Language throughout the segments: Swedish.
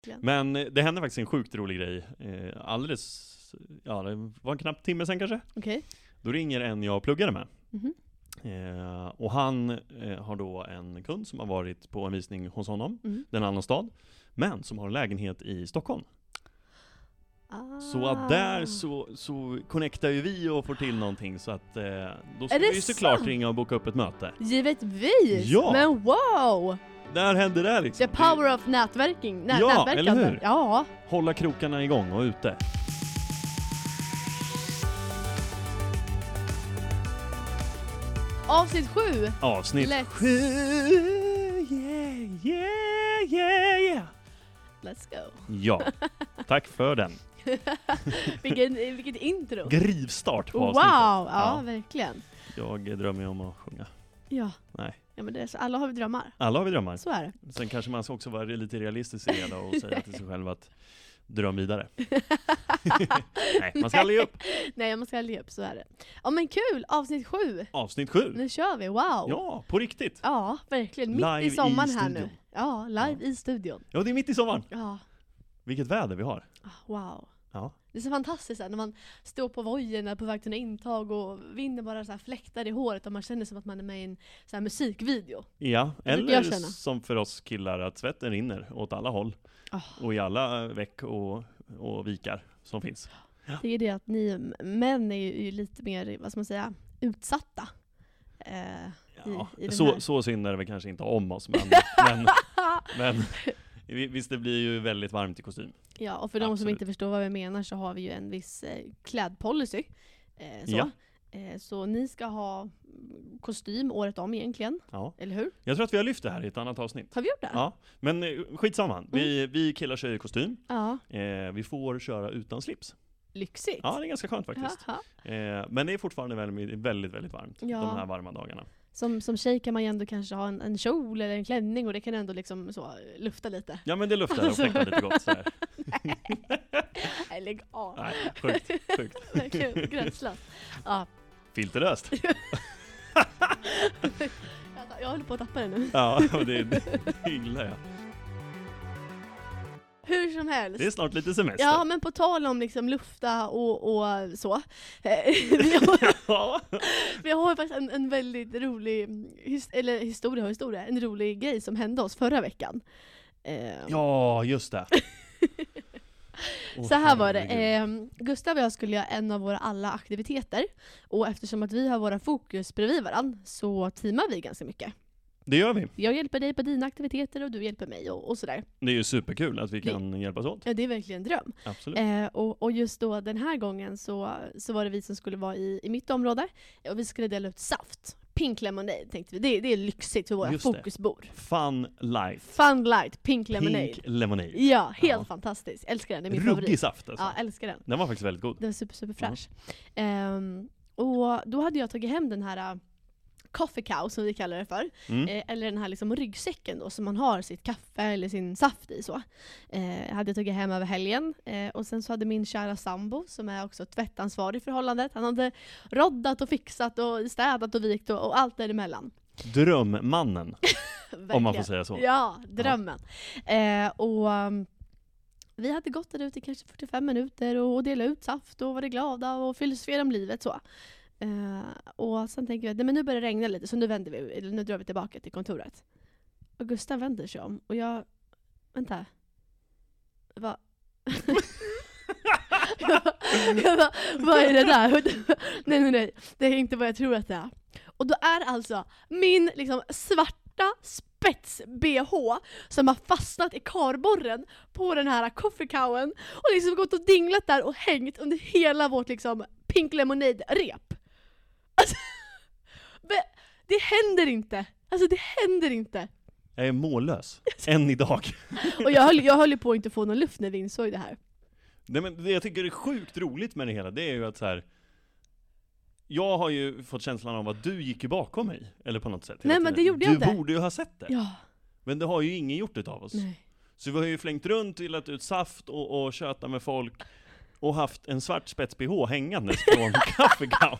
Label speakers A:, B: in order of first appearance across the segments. A: verkligen.
B: Men eh, det hände faktiskt en sjukt rolig grej. Eh, Alldeles, ja det var en knapp timme sen kanske.
A: Okej.
B: Då ringer en jag pluggade med.
A: Mhm.
B: Eh, och han eh, har då en kund som har varit på en visning hos honom.
A: Mm.
B: Det är en annan stad. Men som har en lägenhet i Stockholm.
A: Ah.
B: Så att där så, så connectar ju vi och får till någonting så att eh, då ska
A: Är det
B: vi ju såklart
A: sant?
B: ringa och boka upp ett möte.
A: Givetvis!
B: Ja.
A: Men wow!
B: Där hände det liksom.
A: The power of nätverking. Nä-
B: Ja,
A: nätverkande.
B: eller hur?
A: Ja,
B: Det- Hålla krokarna igång och ute.
A: Avsnitt sju!
B: Avsnitt
A: Let's-
B: sju. Yeah, yeah, yeah, yeah.
A: Let's go.
B: Ja, tack för den.
A: Vilken, eh, vilket intro.
B: Grivstart på
A: Wow!
B: avsnittet.
A: Ja,
B: Ja.
A: verkligen.
B: Jag drömmer ju om att sjunga.
A: Ja.
B: Nej.
A: ja, men det är så. Alla har vi drömmar.
B: Alla har vi drömmar.
A: Så är det.
B: Sen kanske man ska också vara lite realistisk i det hela och säga till sig själv att dröm vidare. Nej, man ska aldrig ge upp.
A: Nej, man ska aldrig ge upp. Så är det. Ja, men kul! Avsnitt sju.
B: Avsnitt sju.
A: Nu kör vi. Wow!
B: Ja, på riktigt.
A: Ja, verkligen. Mitt
B: Live
A: i
B: i
A: sommaren här nu.
B: studion.
A: Ja, live i studion.
B: Ja, det är mitt i sommaren.
A: Ja,
B: Vilket väder vi har.
A: ah, wow.
B: Ja.
A: Det är så fantastiskt här, när man står på vojerna på väg till en intag och vinden bara så här fläktar i håret och man känner som att man är med i en så här musikvideo.
B: Ja,
A: Det brukar jag
B: eller
A: känna.
B: som för oss killar att svetten rinner åt alla håll
A: Ah.
B: och i alla veck och, och vikar som finns.
A: Det är ju det att ni m- män är ju, ju lite mer, vad ska man säga, utsatta. Eh,
B: Ja,
A: I- i den här.
B: så, så synd är det väl kanske inte om oss, men, men, men vi- visst det blir ju väldigt varmt i kostym.
A: ja, och för de som
B: Absolut.
A: inte förstår vad vi menar så har vi ju en viss eh, klädpolicy. Eh, så.
B: Ja.
A: Eh, så ni ska ha mm, kostym året om egentligen,
B: Ja.
A: eller hur?
B: Jag tror att vi har lyft det här i ett annat avsnitt.
A: Har vi gjort det?
B: Ja, men eh, skitsamma. Vi,
A: Mm.
B: vi killar kör i kostym.
A: Ja.
B: Eh, vi får köra utan slips.
A: Lyxigt.
B: Ja, det är ganska skönt faktiskt.
A: Jaha.
B: Eh, men det är fortfarande väldigt, väldigt, väldigt varmt
A: Ja.
B: de här varma dagarna.
A: Som, som tjej kan man ju ändå kanske ha en, en kjol eller en klänning och det kan ändå liksom så eh, lufta lite.
B: Ja, men det luftar och
A: Alltså.
B: fläktar lite gott sådär.
A: Nej, lägg av.
B: Nej, sjukt, sjukt.
A: Verkligen gränslöst. Ja.
B: Filterlöst.
A: Jag- Jag håller på att tappa det nu.
B: Ja, och det, det, det gillar jag.
A: Hur som helst.
B: Det är snart lite semester.
A: Ja, men på tal om liksom lufta och, och så. Eh, vi, har,
B: Ja.
A: vi har faktiskt en, en väldigt rolig, his, eller historia och historia, en rolig grej som hände oss förra veckan. Eh,
B: Ja, just det. Åh,
A: Så här var det,
B: herregud.
A: eh, Gustav och jag skulle göra en av våra alla aktiviteter och eftersom att vi har våra fokus bredvid varandra så teamar vi ganska mycket.
B: Det gör vi.
A: Jag hjälper dig på dina aktiviteter och du hjälper mig och, och sådär.
B: Det är ju superkul att vi
A: Det-
B: kan hjälpas åt.
A: Ja, det är verkligen en dröm.
B: Absolut.
A: Eh, och, och just då den här gången så, så var det vi som skulle vara i, i mitt område och vi skulle dela ut saft. Pink lemonade tänkte vi, det, det är lyxigt för våra
B: Just det.
A: fokus bor.
B: Fun life.
A: Fun light, pink lemonade.
B: Pink lemonade.
A: Ja, helt
B: Ja.
A: fantastiskt. Älskar den, det är min
B: Ruggig
A: favorit.
B: saft alltså.
A: Ja, älskar den.
B: Den var faktiskt väldigt god.
A: Den var super, super fräsch. Ehm, och då hade jag tagit hem den här äh, coffee cow som vi kallar det för.
B: Mm.
A: Eh, eller den här liksom ryggsäcken då som man har sitt kaffe eller sin saft i så. Eh, hade jag tagit hem över helgen. Eh, och sen så hade min kära sambo som är också tvättansvarig i förhållandet. Han hade roddat och fixat och städat och vikt och, och allt däremellan.
B: Drömmannen, om man får
A: Verkligen.
B: säga så.
A: Ja, drömmen. Eh, och um, vi hade gått där ute i kanske 45 minuter och delat ut saft och varit glada och filosofera om livet så. Eh, och sen tänker vi att nej, men nu börjar det regna lite så nu vänder vi, eller nu drar vi tillbaka till kontoret. Och Gustav vänder sig om och jag, vänta. Va? jag bara, vad är det där? nej nej nej, det är inte vad jag tror att det är. Och då är alltså min liksom svarta spets-bh som har fastnat i karborren på den här koffekauen och liksom gått och dinglat där och hängt under hela vårt liksom pink lemonade-rep. Alltså, men det händer inte! Alltså det händer inte!
B: Jag är mållös. Än idag.
A: Och jag höll, jag höll ju på att inte få någon luft när vi insåg det här.
B: Nej, men det jag tycker är sjukt roligt med det hela, det är ju att så här. Jag har ju fått känslan av att du gick ju bakom mig, eller på något sätt. hela
A: Nej, men
B: tiden.
A: det gjorde
B: du
A: jag inte.
B: Du borde ju ha sett det.
A: Ja,
B: Men det har ju ingen gjort utav oss.
A: nej.
B: Så vi har ju flängt runt, delat ut saft och, och tjötat med folk och haft en svart spets-bh hängandes från kaffegown.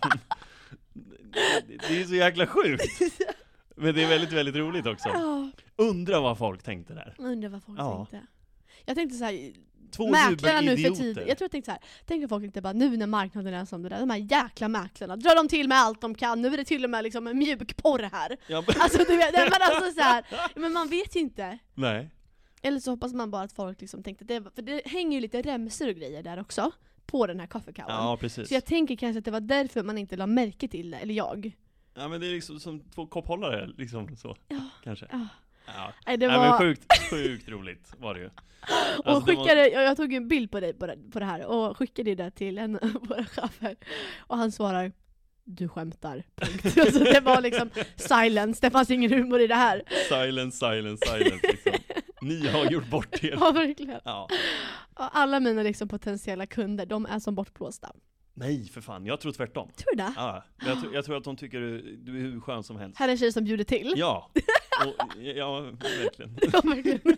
B: Det- Det är så jäkla sjukt! Men det är väldigt, väldigt roligt också.
A: Ja,
B: Undra vad folk tänkte där.
A: jag undrar vad folk
B: Ja.
A: tänkte. Jag tänkte så här,
B: Två
A: mäklarna nu för
B: superidioter.
A: tiden. Jag tror jag tänkte så här, tänk om folk inte bara nu när marknaden är som det där, de här jäkla mäklarna, drar de till med allt de kan, nu är det till och med liksom en mjukporr här.
B: Ja, men-
A: Alltså du vet, nej, men alltså så här, men man vet ju inte.
B: Nej.
A: Eller så hoppas man bara att folk liksom tänkte att det var, för det hänger ju lite remsor och grejer där också, på den här kaffekauan.
B: Ja, precis.
A: Så jag tänker kanske att det var därför man inte la märke till det, eller jag.
B: Ja, men det är liksom som två kopphållare, liksom så.
A: Ja.
B: Kanske.
A: Ja.
B: Ja.
A: Ah. Nej, det
B: Nej, men
A: var...
B: sjukt, sjukt roligt var det ju.
A: och
B: Alltså, det var-
A: skickade, jag, jag tog ju en bild på dig på det, på det här och skickade det till en av våra chefer. Och han svarar du skämtar. Punkt. alltså det var liksom silence, det fanns ingen humor i det här.
B: Silence, silence, silence liksom. Ni har gjort bort er.
A: Ja verkligen.
B: Ja.
A: Och alla mina liksom, potentiella kunder, de är som bortblåsta.
B: Nej för fan, jag tror tvärtom.
A: Tror du det?
B: Ja, jag, tror- jag tror att de tycker du, du är hur skön som helst.
A: Här är en tjej som bjuder till.
B: Ja, och, ja verkligen.
A: Ja, verkligen.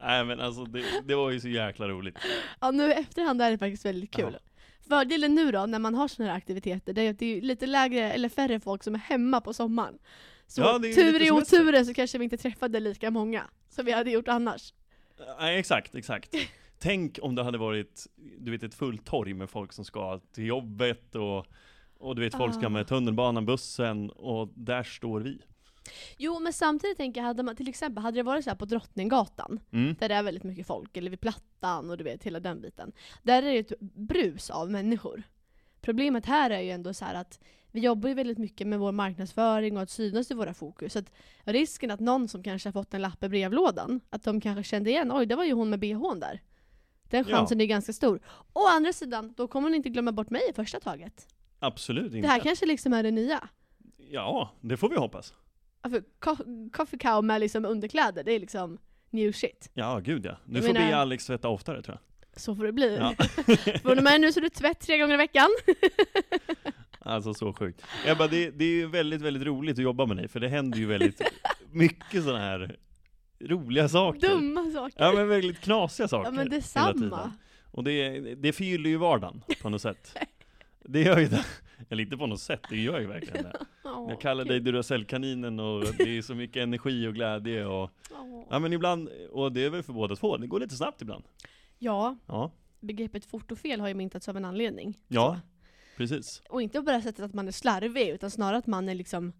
B: Nej men alltså det, det var ju så jäkla roligt.
A: ja nu i efterhand är det faktiskt väldigt kul.
B: Ja.
A: Fördelen nu då, när man har sådana här aktiviteter, det är att det är lite lägre eller färre folk som är hemma på sommaren. Så
B: Ja, det är ju
A: tur
B: lite
A: i
B: semester.
A: oturen så kanske vi inte träffade lika många som vi hade gjort annars.
B: Nej exakt, exakt. Tänk om det hade varit, du vet ett fullt torg med folk som ska till jobbet och, och du vet folk ska
A: Ah.
B: med tunnelbanan, bussen och där står vi.
A: Jo, men samtidigt tänker jag, hade man, till exempel, hade det varit så här på Drottninggatan,
B: Mm.
A: där det är väldigt mycket folk, eller vid Plattan och du vet, hela den biten. Där är det ju ett brus av människor. Problemet här är ju ändå så här att vi jobbar ju väldigt mycket med vår marknadsföring och att synas i våra fokus. Så att risken att någon som kanske har fått en lapp i brevlådan, att de kanske kände igen, oj det var ju hon med bhn där. Den
B: Ja.
A: chansen är ganska stor. Å andra sidan, då kommer hon inte glömma bort mig i första taget.
B: Absolut
A: Det
B: inte.
A: här kanske liksom är det nya.
B: Ja, det får vi hoppas.
A: Ja, för co- Coffee cow med liksom underkläder, det är liksom new shit.
B: Ja, gud ja. Nu
A: Jag
B: får
A: menar-
B: be Alex tvätta oftare tror jag.
A: Så får det bli.
B: Ja.
A: Från och med nu så är du tvätt tre gånger i veckan.
B: Alltså så sjukt. Ebba, det, det är ju väldigt, väldigt roligt att jobba med dig, för det händer ju väldigt mycket sådana här roliga saker.
A: Dumma saker.
B: Ja men väldigt knasiga saker.
A: Ja men
B: hela
A: detsamma.
B: tiden. Och det, det förgyller ju vardagen på något sätt. Det gör ju det. Eller inte på något sätt, det gör ju verkligen det.
A: Åh,
B: Jag kallar dig
A: gud.
B: Duracellkaninen och det är så mycket energi och glädje och
A: Åh.
B: Ja men ibland, och det är väl för båda två, det går lite snabbt ibland.
A: Ja,
B: Ja,
A: begreppet fort och fel har ju myntats av en anledning.
B: ja precis.
A: Och inte på det här sättet att man är slarvig, utan snarare att man är liksom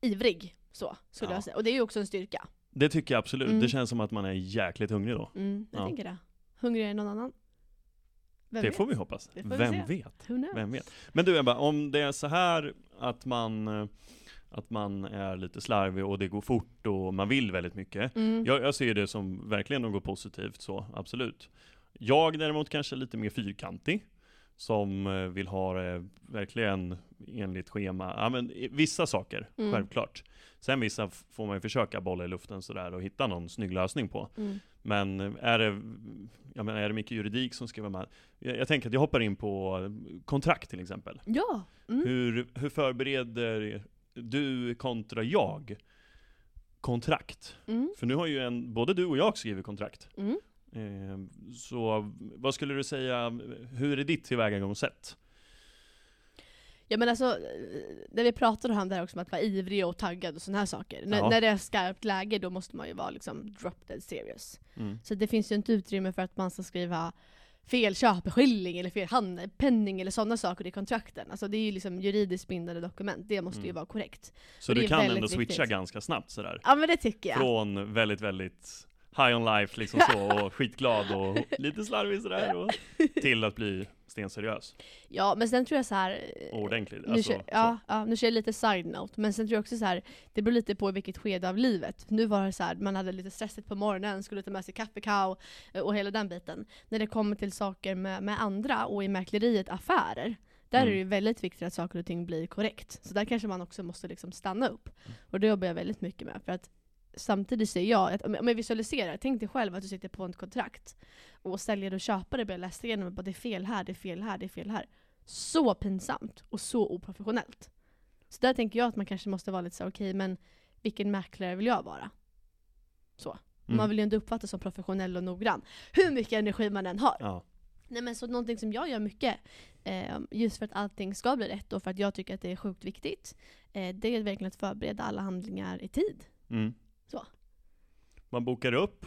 A: ivrig. Så, skulle
B: Ja.
A: jag säga. Och det är ju också en styrka.
B: Det tycker jag absolut.
A: Mm.
B: Det känns som att man är jäkligt hungrig då.
A: Mm, jag
B: Ja.
A: tänker det. Hungrigare än någon annan. Vem
B: det
A: vet?
B: får vi hoppas.
A: Det får vi
B: Vem
A: se.
B: vet?
A: Who knows?
B: Vem vet? Men du Ebba, om det är så här att man, eh, att man är lite slarvig och det går fort och man vill väldigt mycket.
A: Mm.
B: Jag, jag ser det som verkligen något positivt så, absolut. Jag däremot kanske är lite mer fyrkantig. Som eh, vill ha det verkligen enligt schema. Ja, men i- vissa saker,
A: Mm.
B: självklart. Sen vissa f- får man ju försöka bolla i luften sådär och hitta någon snygg lösning på.
A: Mm.
B: Men är det, jag menar, är det mycket juridik som ska vara med? Jag, jag tänker att jag hoppar in på kontrakt till exempel.
A: Ja! Mm.
B: Hur, hur förbereder du kontra jag kontrakt?
A: Mm.
B: För nu har ju en, både du och jag skrivit kontrakt.
A: Mm.
B: Eh, så vad skulle du säga, hur är ditt tillvägagångssätt?
A: Ja men alltså, eh, när vi pratade om det här också med att vara ivrig och taggad och sådana här saker. När-
B: Ja.
A: När det är skarpt läge då måste man ju vara liksom drop dead serious.
B: Mm.
A: Så det finns ju inte utrymme för att man ska skriva fel köpeskilling eller fel handpenning eller sådana saker i kontrakten. Alltså det är ju liksom juridiskt bindande dokument, det måste ju
B: Mm.
A: vara korrekt.
B: Så
A: det
B: du
A: är
B: kan
A: väldigt
B: ändå switcha
A: viktigt.
B: ganska snabbt sådär.
A: Ja men det tycker jag.
B: Från väldigt, väldigt high on life liksom så, och skitglad och lite slarvig sådär. Och, till att bli stenseriös
A: Ja men sen tror jag så här. eh,
B: och ordentlig.
A: Nu
B: Alltså,
A: kör, ja, ja, nu kör jag lite side-note, men sen tror jag också så här, det beror lite på i vilket skede av livet. Nu var det så här, man hade lite stressigt på morgonen, skulle ta med sig kaffekau eh, och hela den biten. När det kommer till saker med, med andra och i mäkleriet affärer, där är det ju väldigt viktigt att saker och ting blir korrekt. Så där kanske man också måste liksom stanna upp. Och det jobbar jag väldigt mycket med. För att samtidigt ser jag, att, om jag- om jag visualiserar, tänk dig själv att du sitter på ett kontrakt och säljare och köpare börjar läsa igenom och bara det är fel här, det är fel här, det är fel här så pinsamt och så oprofessionellt. Så där tänker jag att man kanske måste vara lite så här, okej men vilken mäklare vill jag vara?
B: så. Mm.
A: Man vill ju inte uppfattas som professionell och noggrann. Hur mycket energi man än har.
B: Ja.
A: Nej men så någonting som jag gör mycket, eh, just för att allting ska bli rätt och för att jag tycker att det är sjukt viktigt, eh, det är verkligen att förbereda alla handlingar i tid.
B: Mm.
A: Så.
B: Man bokar mm. upp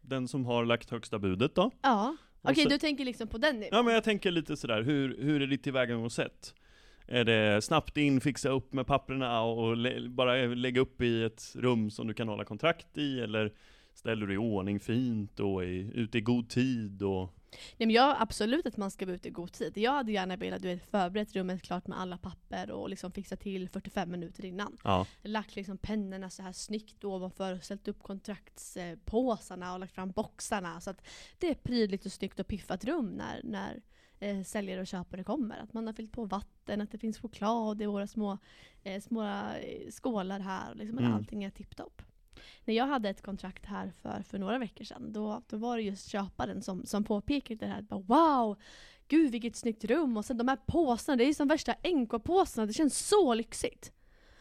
B: den som har lagt högsta budet då?
A: Ja.
B: Och
A: Okej,
B: så-
A: du tänker liksom på den
B: Alltså- Ja
A: nivån?
B: men jag tänker lite sådär, hur, hur är ditt tillvägagångssätt? Är det snabbt in, fixa upp med papperna och, och lä- bara lägga upp i ett rum som du kan hålla kontrakt i? Eller ställer du i ordning fint och är ute i god tid? Och...
A: Nej men jag absolut att man ska vara ute i god tid. Jag hade gärna velat du vet, förberett rummet klart med alla papper och liksom fixa till 45 minuter innan.
B: Ja.
A: Lagt liksom pennorna så här snyggt ovanför och ställt upp kontraktspåsarna och lagt fram boxarna. Så att det är prydligt och snyggt och piffat rum när, när eh, säljare och köpare kommer. Att man har fyllt på vatten, att det finns choklad i våra små, eh, små eh, skålar här. och Liksom att
B: Mm.
A: allting är tipptopp. När jag hade ett kontrakt här för, för några veckor sedan, då, då var det just köparen som, som påpekade det här. Bara, wow, gud vilket snyggt rum! Och sen de här påsarna, det är ju som värsta NK-påsarna, det känns så lyxigt!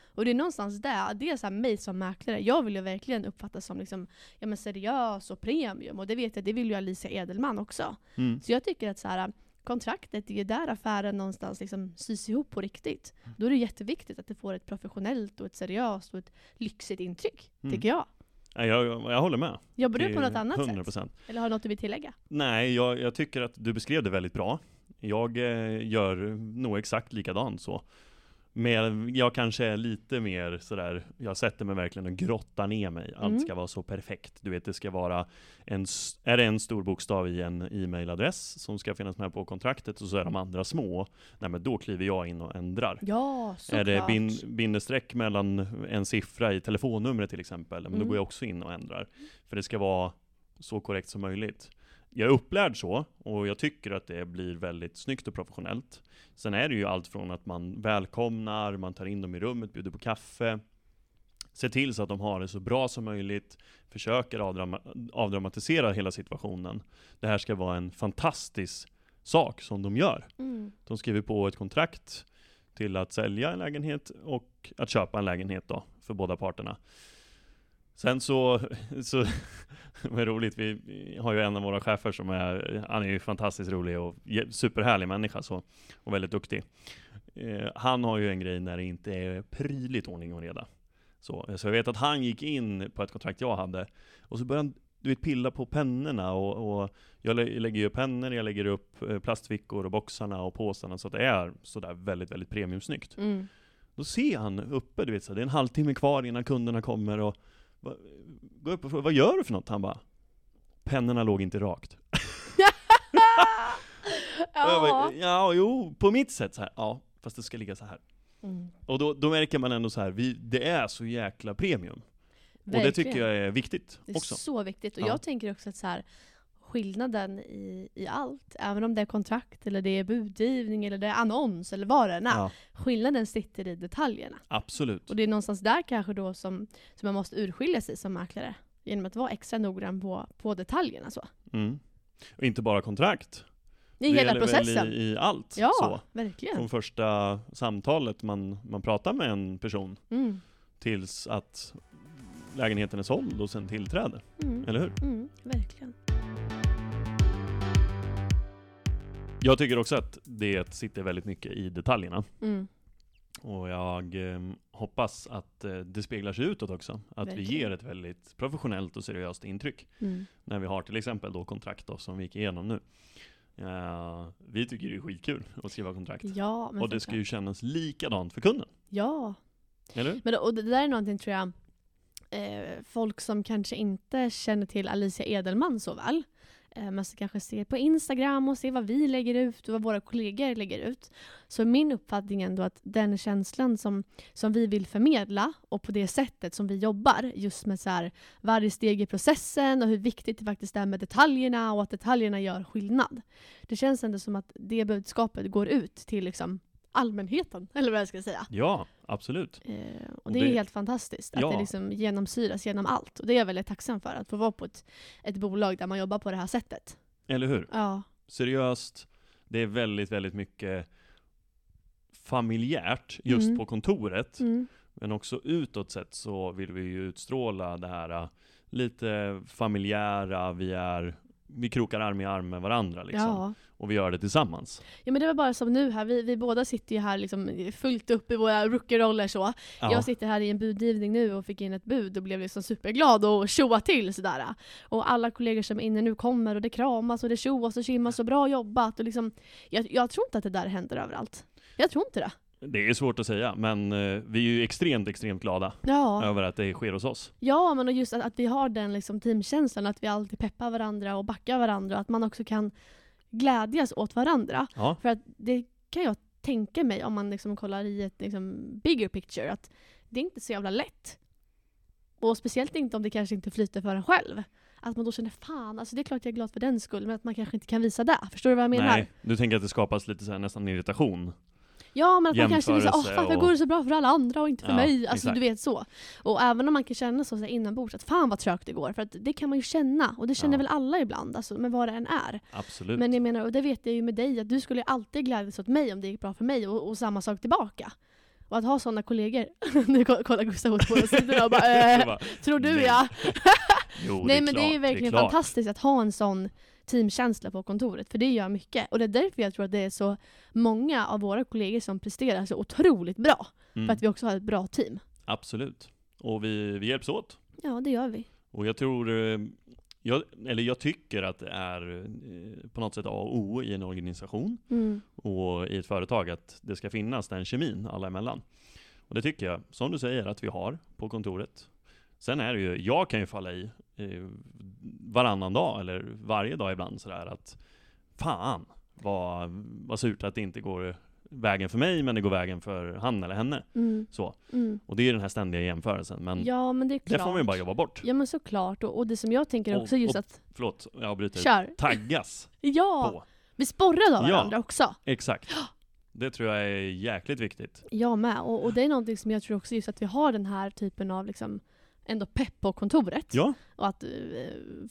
A: Och det är någonstans där, det är så här mig som mäklare, jag vill ju verkligen uppfattas som liksom, ja, men seriös och premium. Och det vet jag, det vill ju Alicia Edelman också.
B: Mm.
A: Så jag tycker att så här, kontraktet, det är ju där affären någonstans liksom sys ihop på riktigt.
B: Mm.
A: Då är det jätteviktigt att det får ett professionellt och ett seriöst och ett lyxigt intryck,
B: Mm.
A: tycker jag.
B: Ja, Jag, jag håller med.
A: Jobbar du
B: Det
A: på
B: är
A: något annat sätt?
B: 100%.
A: Eller har du något du vill tillägga?
B: Nej, jag, jag tycker att du beskrev det väldigt bra. Jag eh, gör nog exakt likadant så. Men jag kanske är lite mer sådär, jag sätter mig verkligen och grottar ner mig. Allt
A: Mm.
B: ska vara så perfekt. Du vet, det ska vara en, s- är det en stor bokstav i en e-mailadress som ska finnas med på kontraktet och så är de andra små. Nej men då kliver jag in och ändrar.
A: Ja,
B: Är
A: såklart.
B: det bin, bindestreck mellan en siffra i telefonnumret till exempel, men
A: Mm.
B: då går jag också in och ändrar. För det ska vara så korrekt som möjligt. Jag är upplärd så, och jag tycker att det blir väldigt snyggt och professionellt. Sen är det ju allt från att man välkomnar, man tar in dem i rummet, bjuder på kaffe, ser till så att de har det så bra som möjligt, försöker avdrama avdramatisera hela situationen. Det här ska vara en fantastisk sak som de gör.
A: Mm.
B: De skriver på ett kontrakt till att sälja en lägenhet och att köpa en lägenhet då, för båda parterna. Sen så, så vad roligt, vi vi har ju en av våra chefer som är, han är ju fantastiskt rolig och jä- superhärlig människa så, och väldigt duktig. Eh, han har ju en grej när det inte är prydligt ordning och reda. Så, så jag vet att han gick in på ett kontrakt jag hade, och så började han du vet, pilla på pennorna och, och jag lä- lägger ju upp pennor, jag lägger upp eh, plastfickor och boxarna och påsarna så att det är sådär väldigt, väldigt premiumsnyggt.
A: Mm.
B: Då ser han uppe, du vet så här, det är en halvtimme kvar innan kunderna kommer och va, går upp och frågar vad gör du för något? Han bara Pennorna låg inte rakt. Och jag bara,
A: ja.
B: ja, jo, på mitt sätt så här. Ja, fast det ska ligga så här.
A: Mm.
B: Och då, då märker man ändå så här, vi, det är så jäkla premium. Och det
A: Verkligen.
B: tycker jag är viktigt
A: Det är
B: också.
A: så viktigt. Och
B: Ja.
A: jag tänker också att så här, skillnaden i, i allt, även om det är kontrakt, eller det är budgivning, eller det är annons, eller vad det än är.
B: Ja,
A: Skillnaden sitter i detaljerna.
B: absolut.
A: Och det är någonstans där kanske då som, som man måste urskilja sig som mäklare. Genom att vara extra noggrann på, på detaljerna. Så.
B: Mm. Och inte bara kontrakt.
A: I
B: Det
A: hela
B: gäller väl
A: processen.
B: I, i allt.
A: ja,
B: Så.
A: verkligen.
B: Från första samtalet man, man pratar med en person
A: Mm.
B: tills att lägenheten är såld och sen tillträde,
A: Mm.
B: eller hur?
A: Mm. Verkligen.
B: Jag tycker också att det sitter väldigt mycket i detaljerna.
A: Mm.
B: Och jag eh, hoppas att eh, det speglar sig utåt också. Att vi
A: Verkligen.
B: ger ett väldigt professionellt och seriöst intryck.
A: Mm.
B: När vi har till exempel då kontrakt då, som vi gick igenom nu. Eh, vi tycker det är skitkul att skriva kontrakt.
A: Ja, men
B: och det
A: såklart.
B: ska ju kännas likadant för kunden,
A: Ja,
B: eller hur?
A: Men då, och det där är någonting tror jag, eh, folk som kanske inte känner till Alicia Edelman så väl, eh, men som kanske ser på Instagram och ser vad vi lägger ut och vad våra kollegor lägger ut. Så min uppfattning är ändå att den känslan som, som vi vill förmedla och på det sättet som vi jobbar, just med så här, varje steg i processen och hur viktigt det faktiskt är med detaljerna och att detaljerna gör skillnad. Det känns ändå som att det budskapet går ut till liksom allmänheten, eller vad jag ska säga.
B: Ja, absolut.
A: Eh, och
B: Och
A: det,
B: det-
A: är helt fantastiskt att
B: Ja.
A: det liksom genomsyras genom allt. Och det är jag väldigt tacksam för, att få vara på ett, ett bolag där man jobbar på det här sättet.
B: Eller hur?
A: Ja,
B: seriöst. Det är väldigt, väldigt mycket familjärt just
A: Mm.
B: på kontoret.
A: mm.
B: Men också utåt sett så vill vi ju utstråla det här eh, lite äh, familjära, vi är vi krokar arm i arm med varandra liksom.
A: Ja.
B: Och vi gör det tillsammans.
A: ja men det var bara som nu här, vi, vi båda sitter ju här liksom fullt upp i våra rookie-roller så. Jag sitter här i en budgivning nu och fick in ett bud och blev liksom superglad och tjoa till sådär. Och alla kollegor som är inne nu kommer och det kramas och det tjoas och tjimmas och bra jobbat. Och liksom, jag, jag tror inte att det där händer överallt. Jag tror inte det.
B: Det är svårt att säga, men eh, vi är ju extremt, extremt glada
A: Ja,
B: över att det sker hos oss.
A: ja men och just att, att vi har den liksom teamkänslan, att vi alltid peppar varandra och backar varandra och att man också kan glädjas åt varandra.
B: Ja.
A: För att det kan jag tänka mig om man liksom kollar i ett liksom bigger picture, att det är inte så jävla lätt. Och speciellt inte om det kanske inte flyter för en själv. Att man då känner fan, alltså det är klart jag är glad för den skull, men att man kanske inte kan visa det. Förstår du vad jag menar?
B: Nej, du tänker att det skapas lite så här, nästan irritation.
A: Ja, men att man kanske visar åh
B: Jämförelse
A: fan, varför
B: och-
A: går det så bra för alla andra och inte för
B: Ja,
A: mig? Alltså
B: exakt.
A: du vet så. Och även om man kan känna så, så här, inombords, att fan vad trögt det går. För att det kan man ju känna, och det känner
B: Ja.
A: väl alla ibland, alltså, men vad det än är.
B: Absolut.
A: Men jag menar, och det vet jag ju med dig, att du skulle ju alltid glädjas åt mig om det gick bra för mig och, och samma sak tillbaka. Och att ha sådana kollegor. nu ko- kollar Gustav åt båda sidorna och bara
B: Det
A: äh,
B: var-
A: tror du
B: nej,
A: ja?
B: jo,
A: Nej
B: är
A: men det är ju
B: klart,
A: verkligen
B: klart.
A: fantastiskt att ha en sån teamkänsla på kontoret, för det gör mycket. Och det är därför jag tror att det är så många av våra kollegor som presterar så otroligt bra.
B: Mm,
A: För att vi också har ett bra team.
B: Absolut. Och vi, vi hjälps åt.
A: Ja, det gör vi.
B: Och jag tror, eh, jag, eller jag tycker att det är eh, på något sätt A och O i en organisation
A: Mm.
B: och i ett företag att det ska finnas den kemin alla emellan. Och det tycker jag, som du säger, att vi har på kontoret. Sen är det ju, jag kan ju falla i eh, varannan dag eller varje dag ibland sådär att fan vad, vad surt att det inte går vägen för mig men det går vägen för han eller henne.
A: Mm.
B: Så.
A: Mm.
B: Och det är ju den här ständiga jämförelsen men
A: Ja, men det är klart.
B: det får man ju bara jobba bort.
A: Ja, men såklart. Och, och det som jag tänker
B: Och-
A: också just
B: och-
A: att,
B: Förlåt, jag avbryter.
A: kör.
B: Taggas
A: Ja!
B: på.
A: Vi sporrar av
B: Ja.
A: varandra också.
B: Exakt. Det tror jag är jäkligt viktigt.
A: Jag med. Och, och det är någonting som jag tror också just att vi har den här typen av liksom ändå pepp på kontoret.
B: Ja,
A: Och att eh,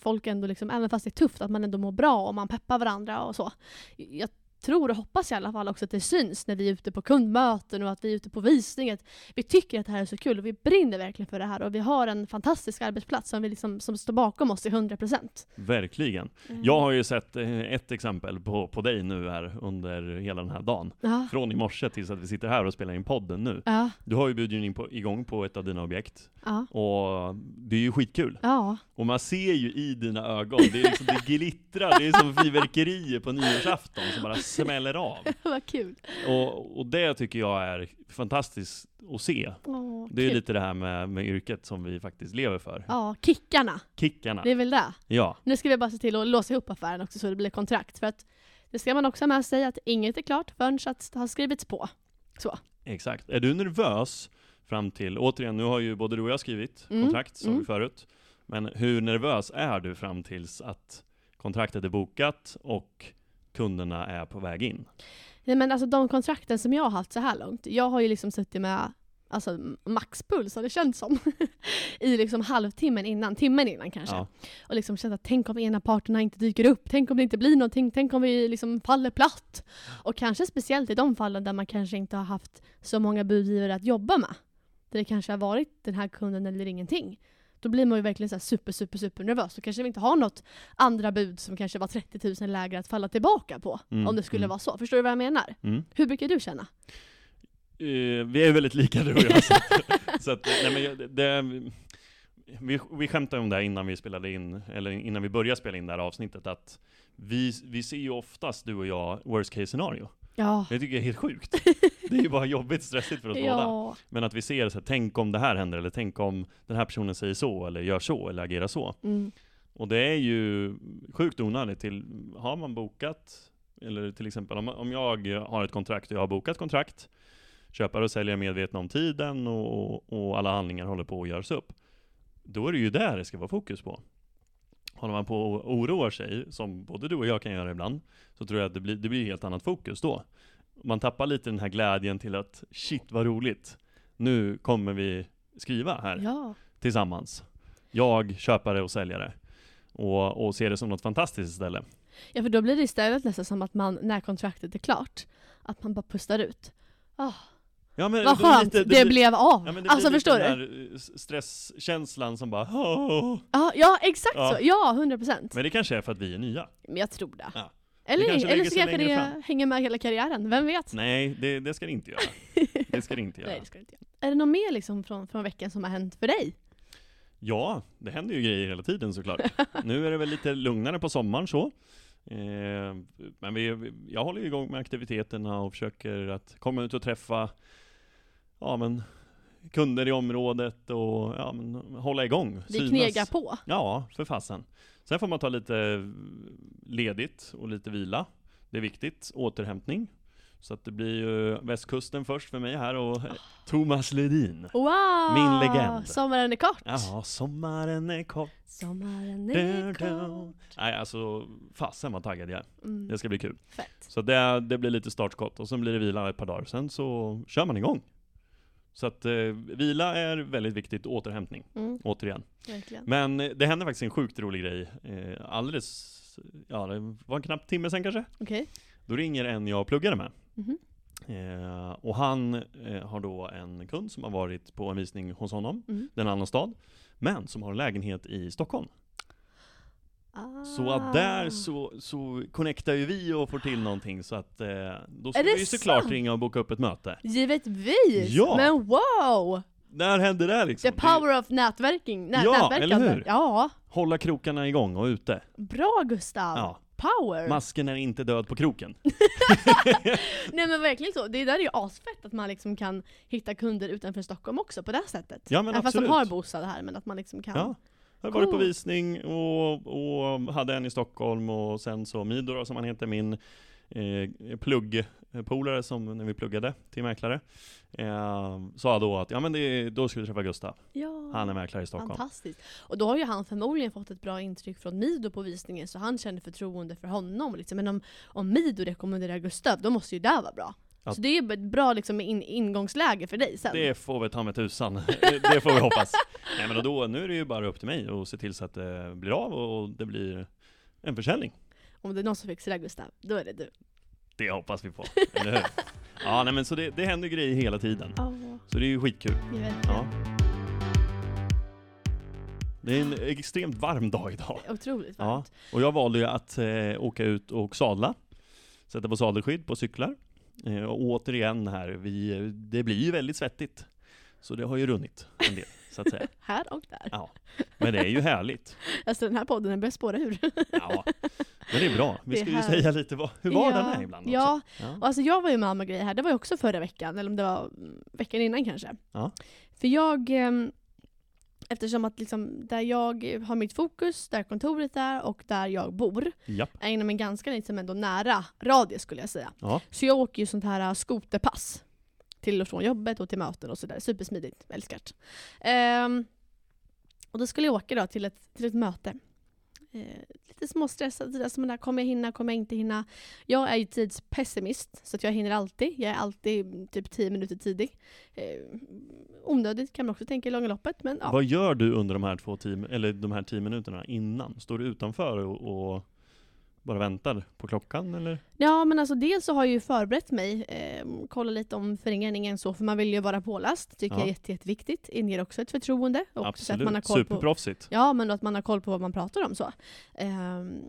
A: folk ändå, liksom, även fast det är tufft, att man ändå mår bra och man peppar varandra och så. Jag tror och hoppas i alla fall också att det syns när vi är ute på kundmöten och att vi är ute på visning. Att vi tycker att det här är så kul och vi brinner verkligen för det här och vi har en fantastisk arbetsplats som, vi liksom, som står bakom oss till 100%.
B: verkligen.
A: Mm.
B: Jag har ju sett eh, ett exempel på, på dig nu här under hela den här dagen.
A: Ja.
B: Från i morse tills att vi sitter här och spelar in podden nu.
A: Ja.
B: Du har ju bjudit in på, igång på ett av dina objekt.
A: Ja.
B: Och det är ju skitkul.
A: Ja.
B: Och man ser ju i dina ögon, det, är liksom, det glittrar, det är som fyrverkerier på nyårsafton som bara smäller av.
A: Vad kul.
B: Och, och det tycker jag är fantastiskt att se.
A: Åh,
B: Det är ju
A: kul.
B: lite det här med, med yrket som vi faktiskt lever för.
A: Ja, kickarna.
B: Kickarna.
A: Det är väl det.
B: Ja,
A: Nu ska vi bara se till att låsa ihop affären också så det blir kontrakt. För att det ska man också ha med sig att inget är klart förrän att det har skrivits på.
B: exakt. Är du nervös fram till, återigen, nu har ju både du och jag skrivit
A: Mm,
B: kontrakt som
A: mm.
B: förut. Men hur nervös är du fram tills att kontraktet är bokat och kunderna är på väg in?
A: Nej men alltså de kontrakten som jag har haft så här långt, jag har ju liksom suttit med alltså, maxpuls har det känts som. I liksom halvtimmen innan, timmen innan kanske.
B: Ja,
A: Och liksom känt att tänk om ena parterna inte dyker upp, tänk om det inte blir någonting, tänk om vi liksom faller platt. Och kanske speciellt i de fallen där man kanske inte har haft så många budgivare att jobba med. Där det kanske har varit den här kunden eller ingenting. Då blir man ju verkligen så här super, super, super nervös. Då kanske vi inte har något andra bud som kanske var 30 000 lägre att falla tillbaka på.
B: Mm,
A: Om det skulle
B: mm.
A: vara så. Förstår du vad jag menar?
B: mm.
A: Hur brukar du känna?
B: Eh, vi är väldigt lika du och jag. Så att, så att, nej, men jag- det, det, vi, vi skämtade om det här innan vi spelade in, eller innan vi började spela in det här avsnittet, att vi, vi ser ju oftast du och jag worst case scenario.
A: Ja.
B: Det tycker jag är helt sjukt. Det är ju bara jobbigt stressigt för oss båda.
A: Ja.
B: Men att vi ser så här, tänk om det här händer, eller tänk om den här personen säger så, eller gör så, eller agerar så.
A: Mm.
B: Och det är ju sjukt onödigt. Till, har man bokat, eller till exempel om, om jag har ett kontrakt och jag har bokat kontrakt, köpare och säljare är medvetna om tiden och, och, och alla handlingar håller på att göras upp. Då är det ju där det ska vara fokus på. Håller man på och oroar sig, som både du och jag kan göra ibland, så tror jag att det blir, det blir helt annat fokus då. Man tappar lite den här glädjen till att shit vad roligt, nu kommer vi skriva här
A: Ja.
B: tillsammans. Jag, köpare och säljare. Och, och ser det som något fantastiskt istället.
A: Ja för då blir det istället nästan som att man, när kontraktet är klart, att man bara pustar ut. Ah,
B: Ja, men
A: Vad
B: då är
A: skönt
B: lite-
A: det,
B: blir-
A: blev av.
B: Ja, men det
A: alltså
B: blir lite
A: förstår du?
B: den där, eh, s- stresskänslan som bara "Åh."
A: Ja, ja exakt
B: Ja.
A: så. Ja, 100%. procent.
B: Men det kanske är för att vi är nya.
A: Men jag tror det.
B: Ja. Det
A: Eller,
B: kanske
A: eller
B: lägger
A: så
B: sig
A: kanske det
B: längre fram.
A: hänger med hela karriären, vem vet?
B: Nej, det, det ska det inte göra. Det ska det inte göra.
A: Nej, det ska det inte göra. Är det något mer liksom från, från veckan som har hänt för dig?
B: Ja, det händer ju grejer hela tiden såklart. nu är det väl lite lugnare på sommaren så. Eh, men vi, jag håller ju igång med aktiviteterna och försöker att komma ut och träffa ja, men, kunder i området och ja, men, hålla igång.
A: Vi
B: synas.
A: knegar på.
B: Ja, för fasen. Sen får man ta lite ledigt och lite vila. Det är viktigt. Återhämtning. Så att det blir ju västkusten först för mig här och Thomas Ledin.
A: Wow!
B: Min legend.
A: Sommaren är kort.
B: Ja, sommaren är kort.
A: Sommaren
B: Du,
A: är
B: du.
A: kort.
B: Nej, alltså fasen vad taggad jag är.
A: Mm.
B: Det ska bli kul.
A: Fett.
B: Så det, det blir lite startskott och sen blir det vila ett par dagar. Sen så kör man igång. Så att eh, vila är väldigt viktigt, återhämtning.
A: Mm,
B: Återigen.
A: verkligen.
B: Men eh, det hände faktiskt en sjukt rolig grej. Eh, alldeles, ja det var en knapp timme sen kanske.
A: Okej.
B: Då ringer en jag pluggade med.
A: Mhm.
B: Eh, och han eh, har då en kund som har varit på en visning hos honom.
A: Mm.
B: Det är en annan stad. Men som har en lägenhet i Stockholm.
A: Ah.
B: Så att där så, så connectar ju vi och får till någonting så att eh, då ska
A: Är
B: vi
A: det
B: ju såklart
A: sant?
B: ringa och boka upp ett möte.
A: Givetvis!
B: Ja.
A: Men wow!
B: När hände det liksom?
A: The power of nätverking. Nä,
B: Ja,
A: nätverkande.
B: eller hur?
A: Ja,
B: Det, hålla krokarna igång och ute.
A: bra Gustav!
B: Ja.
A: Power!
B: Masken är inte död på kroken.
A: Nej men verkligen så, det där är ju asfett att man liksom kan hitta kunder utanför Stockholm också på det här sättet.
B: Ja men
A: Även fast de
B: absolut.
A: har bostad här men att man liksom kan.
B: Ja. Jag har varit på
A: Coolt.
B: visning och, och hade en i Stockholm och sen så Midor som han heter, min eh, pluggpolare som när vi pluggade till mäklare, eh, sa då att ja men det, då ska vi träffa Gustav.
A: Ja.
B: Han är mäklare i Stockholm.
A: Fantastiskt. Och då har ju han förmodligen fått ett bra intryck från Mido på visningen så han känner förtroende för honom. Liksom. Men om, om Mido rekommenderar Gustav, då måste ju det vara bra.
B: Ja.
A: Så det är ju ett bra liksom, in, ingångsläge för dig sen.
B: Det får vi ta med tusan. det får vi hoppas. Nej men och då, nu är det ju bara upp till mig och se till så att det blir av och det blir en försäljning.
A: Om det är någon som fixar det Gustav, då är det du.
B: Det hoppas vi på, eller hur? Ja nej men så det, det händer grejer hela tiden.
A: Ja,
B: Så det är ju skitkul.
A: jag vet.
B: Ja. Det är en extremt varm dag idag.
A: Otroligt
B: Ja,
A: varmt.
B: och jag valde ju att eh, åka ut och sadla. Sätta på sadelskydd på cyklar. Eh, och återigen här, vi, det blir ju väldigt svettigt. Så det har ju runnit en del, så att säga.
A: Här och där.
B: Ja. Men det är ju härligt.
A: Alltså den här podden den börjar spåra ur.
B: Ja. Men det är bra. Vi
A: Det är
B: ska ju
A: härligt.
B: säga lite vad, hur var
A: ja.
B: den här ibland också.
A: Ja,
B: Ja.
A: och alltså jag var ju med om en grej här, det var ju också förra veckan, eller om det var mm, veckan innan kanske.
B: Ja.
A: För jag, ehm, eftersom att liksom där jag har mitt fokus, där kontoret är och där jag bor,
B: Japp.
A: är inom en ganska liksom ändå nära radie skulle jag säga.
B: Ja.
A: Så jag åker ju sånt här äh, skoterpass. Till och från jobbet och till möten och sådär. Supersmidigt, älskar det. Ehm, och då skulle jag åka då till ett, till ett möte. Eh, lite småstressad, sådär, som där, kommer jag hinna, kommer jag inte hinna? Jag är ju tidspessimist, så att jag hinner alltid. Jag är alltid mm, typ 10 minuter tidig. Eh, onödigt kan man också tänka i långa loppet, men ja.
B: Vad gör du under de här, två tim- eller de här tio minuterna innan? Står du utanför och, och bara väntar på klockan eller?
A: Ja men alltså dels så har jag ju förberett mig, eh, kolla lite om föreningen så, för man vill ju vara påläst, tycker
B: Ja.
A: jag är jätte, jätteviktigt. Inger också ett förtroende. Och så att
B: Absolut,
A: man har koll på,
B: superproffsigt.
A: Ja men att man har koll på vad man pratar om så. Ehm,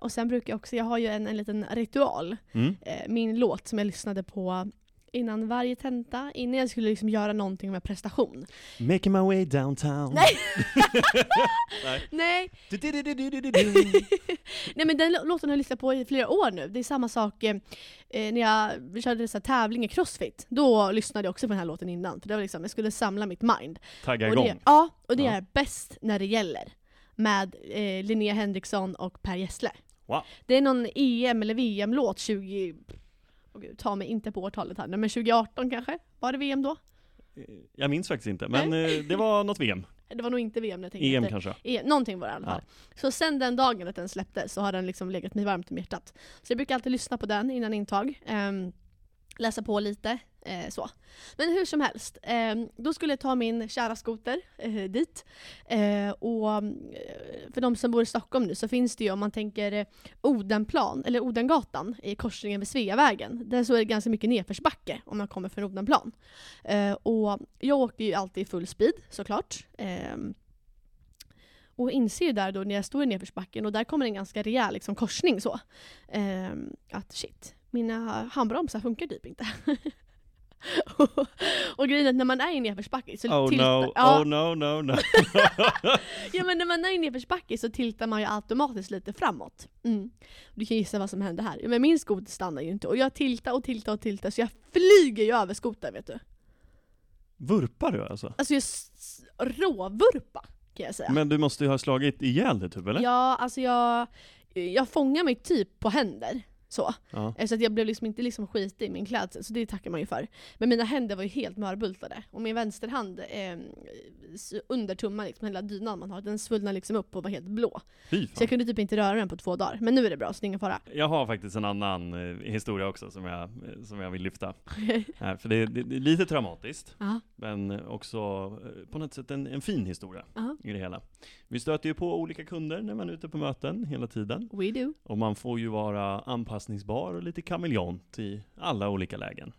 A: och sen brukar jag också, jag har ju en, en liten ritual.
B: Mm.
A: Eh, min låt som jag lyssnade på innan varje tenta, innan jag skulle liksom göra någonting med prestation.
B: Making my way downtown.
A: Nej. Nej,
B: Du-du-du-du-du-du-du.
A: Nej men den lå- låten har jag lyssnat på i flera år nu. Det är samma sak eh, eh, när jag körde så här tävling i crossfit. Då lyssnade jag också på den här låten innan. För det var liksom, jag skulle samla mitt mind.
B: Tagga
A: Och det,
B: igång.
A: ja, och det
B: Ja.
A: är bäst när det gäller. Med eh, Linnea Henriksson och Per Gessle.
B: Wow.
A: Det är någon EM eller VM-låt 20... Åh gud, ta mig inte på årtalet här nu, men 2018 kanske? Var det VM då?
B: Jag minns faktiskt inte, men eh, det var något VM.
A: Det var nog inte VM när jag tänkte
B: EM
A: efter.
B: kanske.
A: EM, någonting var det i alla fall. Så sen den dagen att den släpptes så har den liksom legat mig varmt om hjärtat. Så jag brukar alltid lyssna på den innan intag. ehm, läsa på lite. Eh, så. Men hur som helst, eh, då skulle jag ta min kära skoter eh, dit. Eh, och eh, för de som bor i Stockholm nu så finns det ju om man tänker eh, Odenplan, eller Odengatan i korsningen vid Sveavägen. Där så är det ganska mycket nedförsbacke om man kommer från Odenplan. Eh, och jag åker ju alltid i full speed såklart. Ehm, och inser ju där då när jag står i nedförsbacken och där kommer en ganska rejäl liksom, korsning så. Ehm, att shit, mina handbromsar funkar typ inte. och, och grejen är att när man är i nedförsbacke så
B: Oh
A: tiltar...
B: no,
A: Ja,
B: oh no, no, no.
A: Ja men när man är i nedförsbacke så tiltar man ju automatiskt lite framåt. Mm. Du kan gissa vad som hände här. Ja, Men min skoter stannar ju inte och jag tiltar och tiltar och tiltar så jag flyger ju över skotern vet du.
B: Vurpar du alltså?
A: Alltså jag s- s- råvurpa kan jag säga.
B: Men du måste ju ha slagit ihjäl dig typ, eller?
A: Ja, alltså jag, jag fångar mig typ på händer. Så.
B: Ja.
A: Eh, så att jag blev liksom inte liksom skitig i min klädsel, så det tackar man ju för. Men mina händer var ju helt mörbultade. Och min vänsterhand, eh, s- under tummen, liksom, hela dynan man har, den svullnade liksom upp och var helt blå.
B: Fy
A: Så
B: fan.
A: jag kunde typ inte röra den på två dagar. Men nu är det bra, så det är ingen fara.
B: Jag har faktiskt en annan eh, historia också som jag, eh, som jag vill lyfta. Här, för det, det, det är lite traumatiskt,
A: Ja.
B: men också eh, på något sätt en, en fin historia
A: Ja.
B: i det hela. Vi stöter ju på olika kunder när man är ute på möten hela tiden.
A: We do.
B: Och man får ju vara anpassningsbar och lite kameleont i alla olika lägen.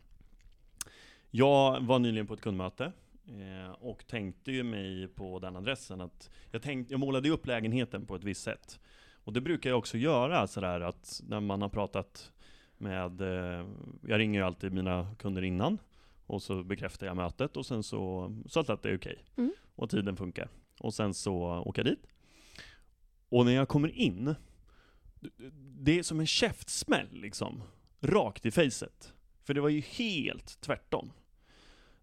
B: Jag var nyligen på ett kundmöte eh, och tänkte ju mig på den adressen att jag, tänkte, jag målade ju upp lägenheten på ett visst sätt. Och det brukar jag också göra sådär att när man har pratat med, eh, jag ringer ju alltid mina kunder innan och så bekräftar jag mötet och sen så, så att det är okej.
A: Mm.
B: Och tiden funkar. Och sen så åker jag dit. Och när jag kommer in det är som en käftsmäll liksom. Rakt i facet. För det var ju helt tvärtom.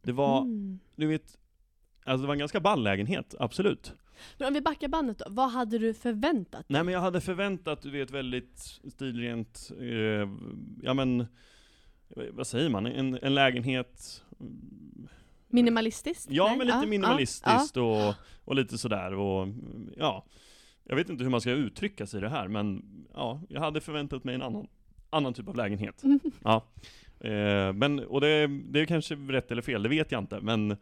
B: Det var,
A: Mm.
B: du vet, alltså det var en ganska ball lägenhet, absolut.
A: Men om vi backar bandet då, vad hade du förväntat?
B: Nej men jag hade förväntat, du vet, väldigt stilrent, eh, ja men, eh, vad säger man, en, en lägenhet, mm,
A: Minimalistiskt?
B: ja
A: Nej,
B: men lite
A: ja,
B: minimalistiskt och, och lite sådär och, mm, ja. Jag vet inte hur man ska uttrycka sig i det här men, ja, jag hade förväntat mig en annan, annan typ av lägenhet.
A: Ja. Mm.
B: Eh, men, och det, det är kanske rätt eller fel, det vet jag inte. Men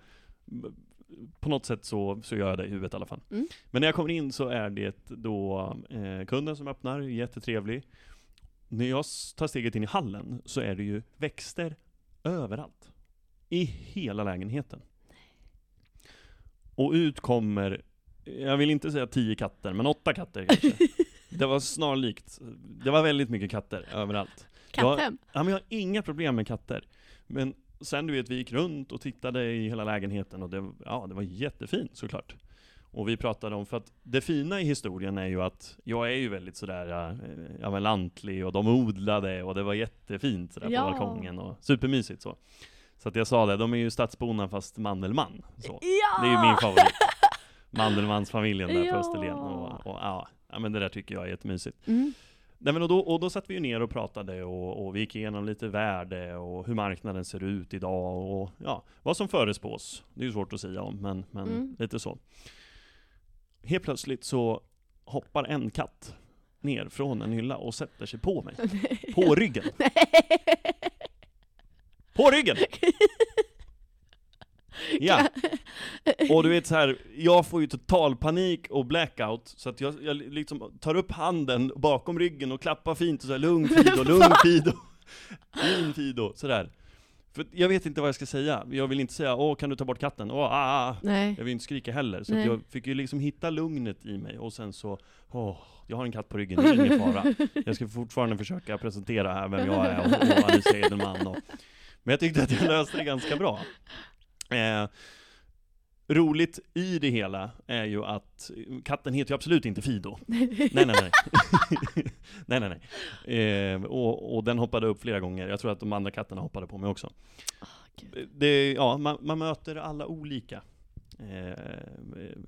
B: på något sätt så, så gör jag det i huvudet i alla fall.
A: Mm.
B: Men när jag kommer in så är det då eh, kunden som öppnar, jättetrevlig. När jag s- tar steget in i hallen så är det ju växter överallt. I hela lägenheten. Och ut kommer, jag vill inte säga tio katter, men åtta katter kanske. det var snarlikt, det var väldigt mycket katter överallt.
A: Katthem?
B: Ja, men jag har inga problem med katter. Men sen du vet, vi gick runt och tittade i hela lägenheten och det, ja, det var jättefint såklart. Och vi pratade om, för att det fina i historien är ju att jag är ju väldigt sådär, eh, ja men lantlig och de odlade och det var jättefint sådär
A: Ja.
B: på balkongen och supermysigt så. Så att jag sa det, de är ju stadsborna fast Mandelmann. Så.
A: Ja!
B: Det är ju min favorit. Mandelmannsfamiljen där
A: Ja.
B: på Österlen och, och ja, ja, men det där tycker jag är jättemysigt.
A: Mm.
B: Nej, men och, då, och då satt vi ju ner och pratade och, och vi gick igenom lite värde och hur marknaden ser ut idag och ja, vad som förespås. Det är ju svårt att säga om, men, men
A: Mm.
B: lite så. Helt plötsligt så hoppar en katt ner från en hylla och sätter sig på mig. På ryggen. På ryggen! Ja. Och du vet så här, jag får ju total panik och blackout, så att jag, jag liksom tar upp handen bakom ryggen och klappar fint och så här, lugn Fido, lugn Fido, lugn Fido, sådär. För jag vet inte vad jag ska säga, jag vill inte säga åh kan du ta bort katten, åh ah, ah.
A: Nej.
B: Jag vill inte skrika heller, så att
A: Nej.
B: jag fick ju liksom hitta lugnet i mig och sen så, åh, jag har en katt på ryggen, det är ingen fara. Jag ska fortfarande försöka presentera här vem jag är och, och Alice Edelman och, Men jag tyckte att jag löste det ganska bra. Eh, roligt i det hela är ju att katten heter ju absolut inte Fido. Nej, nej, nej. nej, nej, nej. Eh, och, och den hoppade upp flera gånger. Jag tror att de andra katterna hoppade på mig också. Det, ja, man, man möter alla olika eh,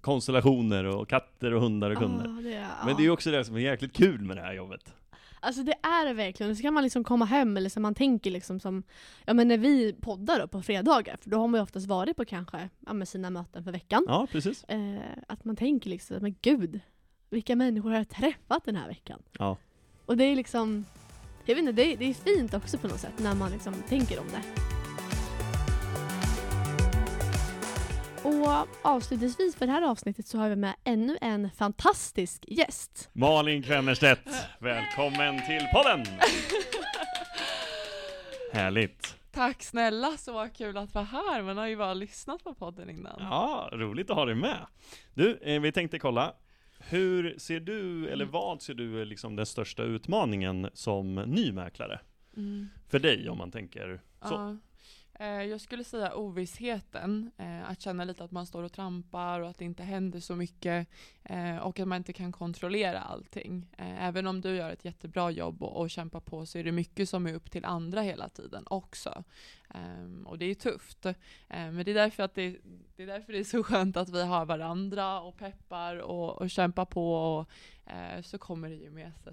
B: konstellationer och katter och hundar och kunder.
A: Ah, det är,
B: Men det är ju också det som är jäkligt kul med det här jobbet.
A: Alltså det är det verkligen. Så kan man liksom komma hem eller så man tänker liksom som, ja men när vi poddar då på fredagar, för då har man ju oftast varit på kanske, ja men sina möten för veckan.
B: Ja, precis.
A: Eh, att man tänker liksom, men gud, vilka människor har jag träffat den här veckan?
B: Ja.
A: Och det är liksom, jag vet inte, det är, det är fint också på något sätt när man liksom tänker om det. Och avslutningsvis för det här avsnittet så har vi med ännu en fantastisk gäst.
B: Malin Krennerstedt, välkommen till podden! Härligt!
C: Tack snälla, så kul att vara här. Man har ju bara lyssnat på podden innan.
B: Ja, roligt att ha dig med! Du, eh, vi tänkte kolla, hur ser du, eller vad ser du är liksom den största utmaningen som ny mäklare?
C: Mm.
B: För dig om man tänker så.
C: Ja. Eh, Jag skulle säga ovissheten, eh, att känna lite att man står och trampar och att det inte händer så mycket eh, och att man inte kan kontrollera allting. Eh, Även om du gör ett jättebra jobb och, och kämpar på så är det mycket som är upp till andra hela tiden också. Ehm, Och det är tufft. Eh, Men det är därför, att det, det är, därför det är så skönt att vi har varandra och peppar och, och kämpar på och eh, så kommer det ju med sig.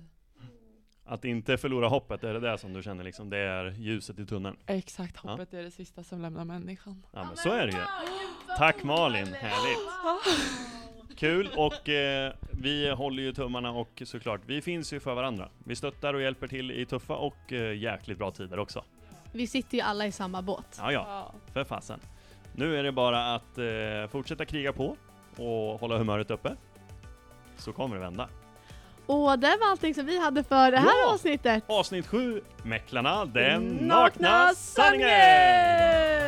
B: Att inte förlora hoppet, är det det som du känner liksom, det är ljuset i tunneln?
C: Exakt,
B: Ja.
C: hoppet är det sista som lämnar människan.
B: Ja men så är det ju! Tack Malin, härligt! Kul och eh, vi håller ju tummarna och såklart, vi finns ju för varandra. Vi stöttar och hjälper till i tuffa och eh, jäkligt bra tider också.
A: Vi sitter ju alla i samma båt.
B: Ja, ja,
C: Ja.
B: för fasen. Nu är det bara att eh, fortsätta kriga på och hålla humöret uppe. Så kommer det vända.
A: Och det var allting som vi hade för det här
B: Ja.
A: avsnittet.
B: Avsnitt 7, Mäklarna, den nakna sanningen!